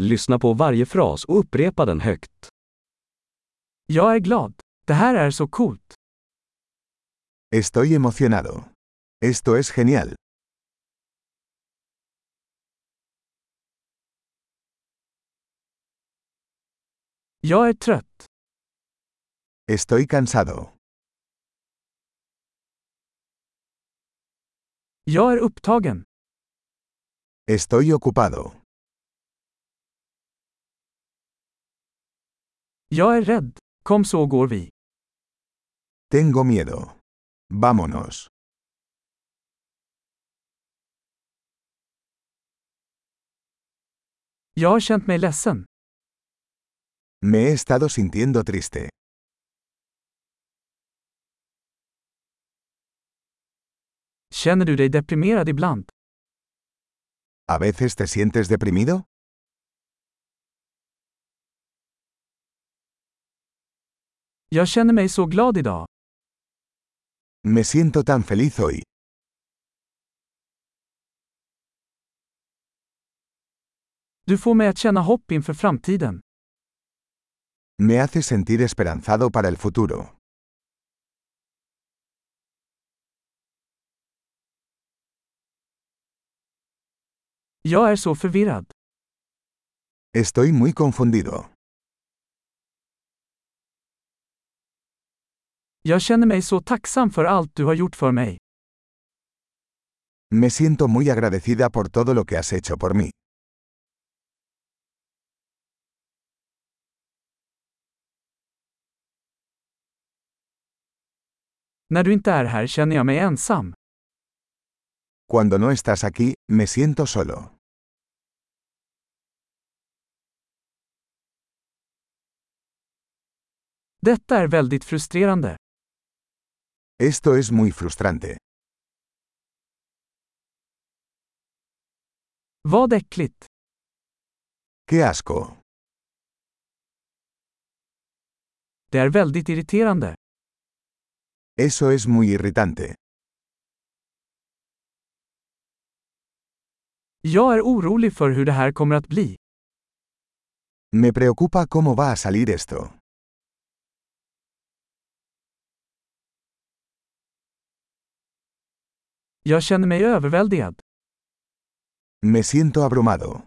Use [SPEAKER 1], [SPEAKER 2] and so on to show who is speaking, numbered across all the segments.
[SPEAKER 1] Lyssna på varje fras och upprepa den högt.
[SPEAKER 2] Jag är glad. Det här är så coolt.
[SPEAKER 3] Estoy emocionado. Esto es genial.
[SPEAKER 2] Jag är trött.
[SPEAKER 3] Estoy cansado.
[SPEAKER 2] Jag är upptagen.
[SPEAKER 3] Estoy ocupado.
[SPEAKER 2] Jag är rädd. Kom så går vi.
[SPEAKER 3] Tengo miedo. Vámonos.
[SPEAKER 2] Jag har känt mig ledsen.
[SPEAKER 3] Me he estado sintiendo triste.
[SPEAKER 2] Känner du dig deprimerad ibland?
[SPEAKER 3] ¿A veces te sientes deprimido?
[SPEAKER 2] Jag känner mig så glad idag.
[SPEAKER 3] Me siento tan feliz hoy.
[SPEAKER 2] Du får mig att känna hopp inför framtiden.
[SPEAKER 3] Me hace sentir esperanzado para el futuro.
[SPEAKER 2] Jag är så förvirrad.
[SPEAKER 3] Estoy muy confundido.
[SPEAKER 2] Jag känner mig så tacksam för allt du har gjort för mig.
[SPEAKER 3] Me siento muy agradecida por todo lo que has hecho por mí.
[SPEAKER 2] När du inte är här känner jag mig ensam.
[SPEAKER 3] Cuando no estás aquí, me siento solo.
[SPEAKER 2] Detta är väldigt frustrerande.
[SPEAKER 3] Esto es muy frustrante.
[SPEAKER 2] Vad äckligt.
[SPEAKER 3] ¡Qué asco!
[SPEAKER 2] Det är väldigt irriterande.
[SPEAKER 3] Eso es muy irritante.
[SPEAKER 2] Jag är orolig för hur det här kommer att bli.
[SPEAKER 3] Me preocupa cómo va a salir esto.
[SPEAKER 2] Jag känner mig överväldigad.
[SPEAKER 3] Me siento abrumado.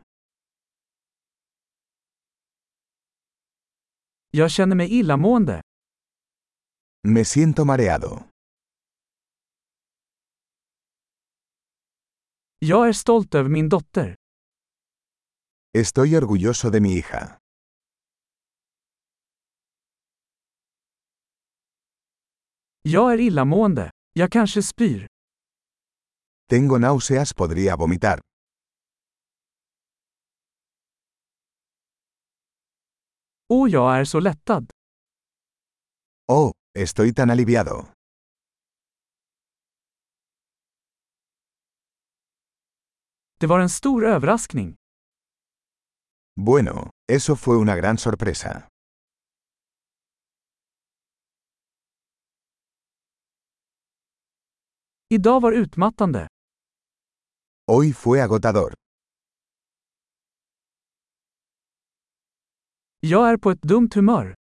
[SPEAKER 2] Jag känner mig illamående.
[SPEAKER 3] Me siento mareado.
[SPEAKER 2] Jag är stolt över min dotter.
[SPEAKER 3] Estoy orgulloso de mi hija.
[SPEAKER 2] Jag är illamående. Jag kanske spyr.
[SPEAKER 3] Tengo náuseas, podría vomitar.
[SPEAKER 2] Och jag är så lättad.
[SPEAKER 3] Oh, estoy tan aliviado.
[SPEAKER 2] Det var en stor överraskning.
[SPEAKER 3] Bueno, eso fue una gran sorpresa.
[SPEAKER 2] Idag var utmattande.
[SPEAKER 3] Hoy fue agotador.
[SPEAKER 2] Jag är på ett dumt humör.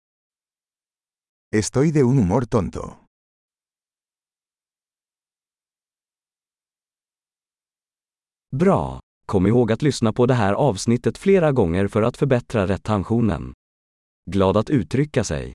[SPEAKER 3] Estoy de un humor tonto.
[SPEAKER 1] Bra! Kom ihåg att lyssna på det här avsnittet flera gånger för att förbättra retentionen. Glad att uttrycka sig.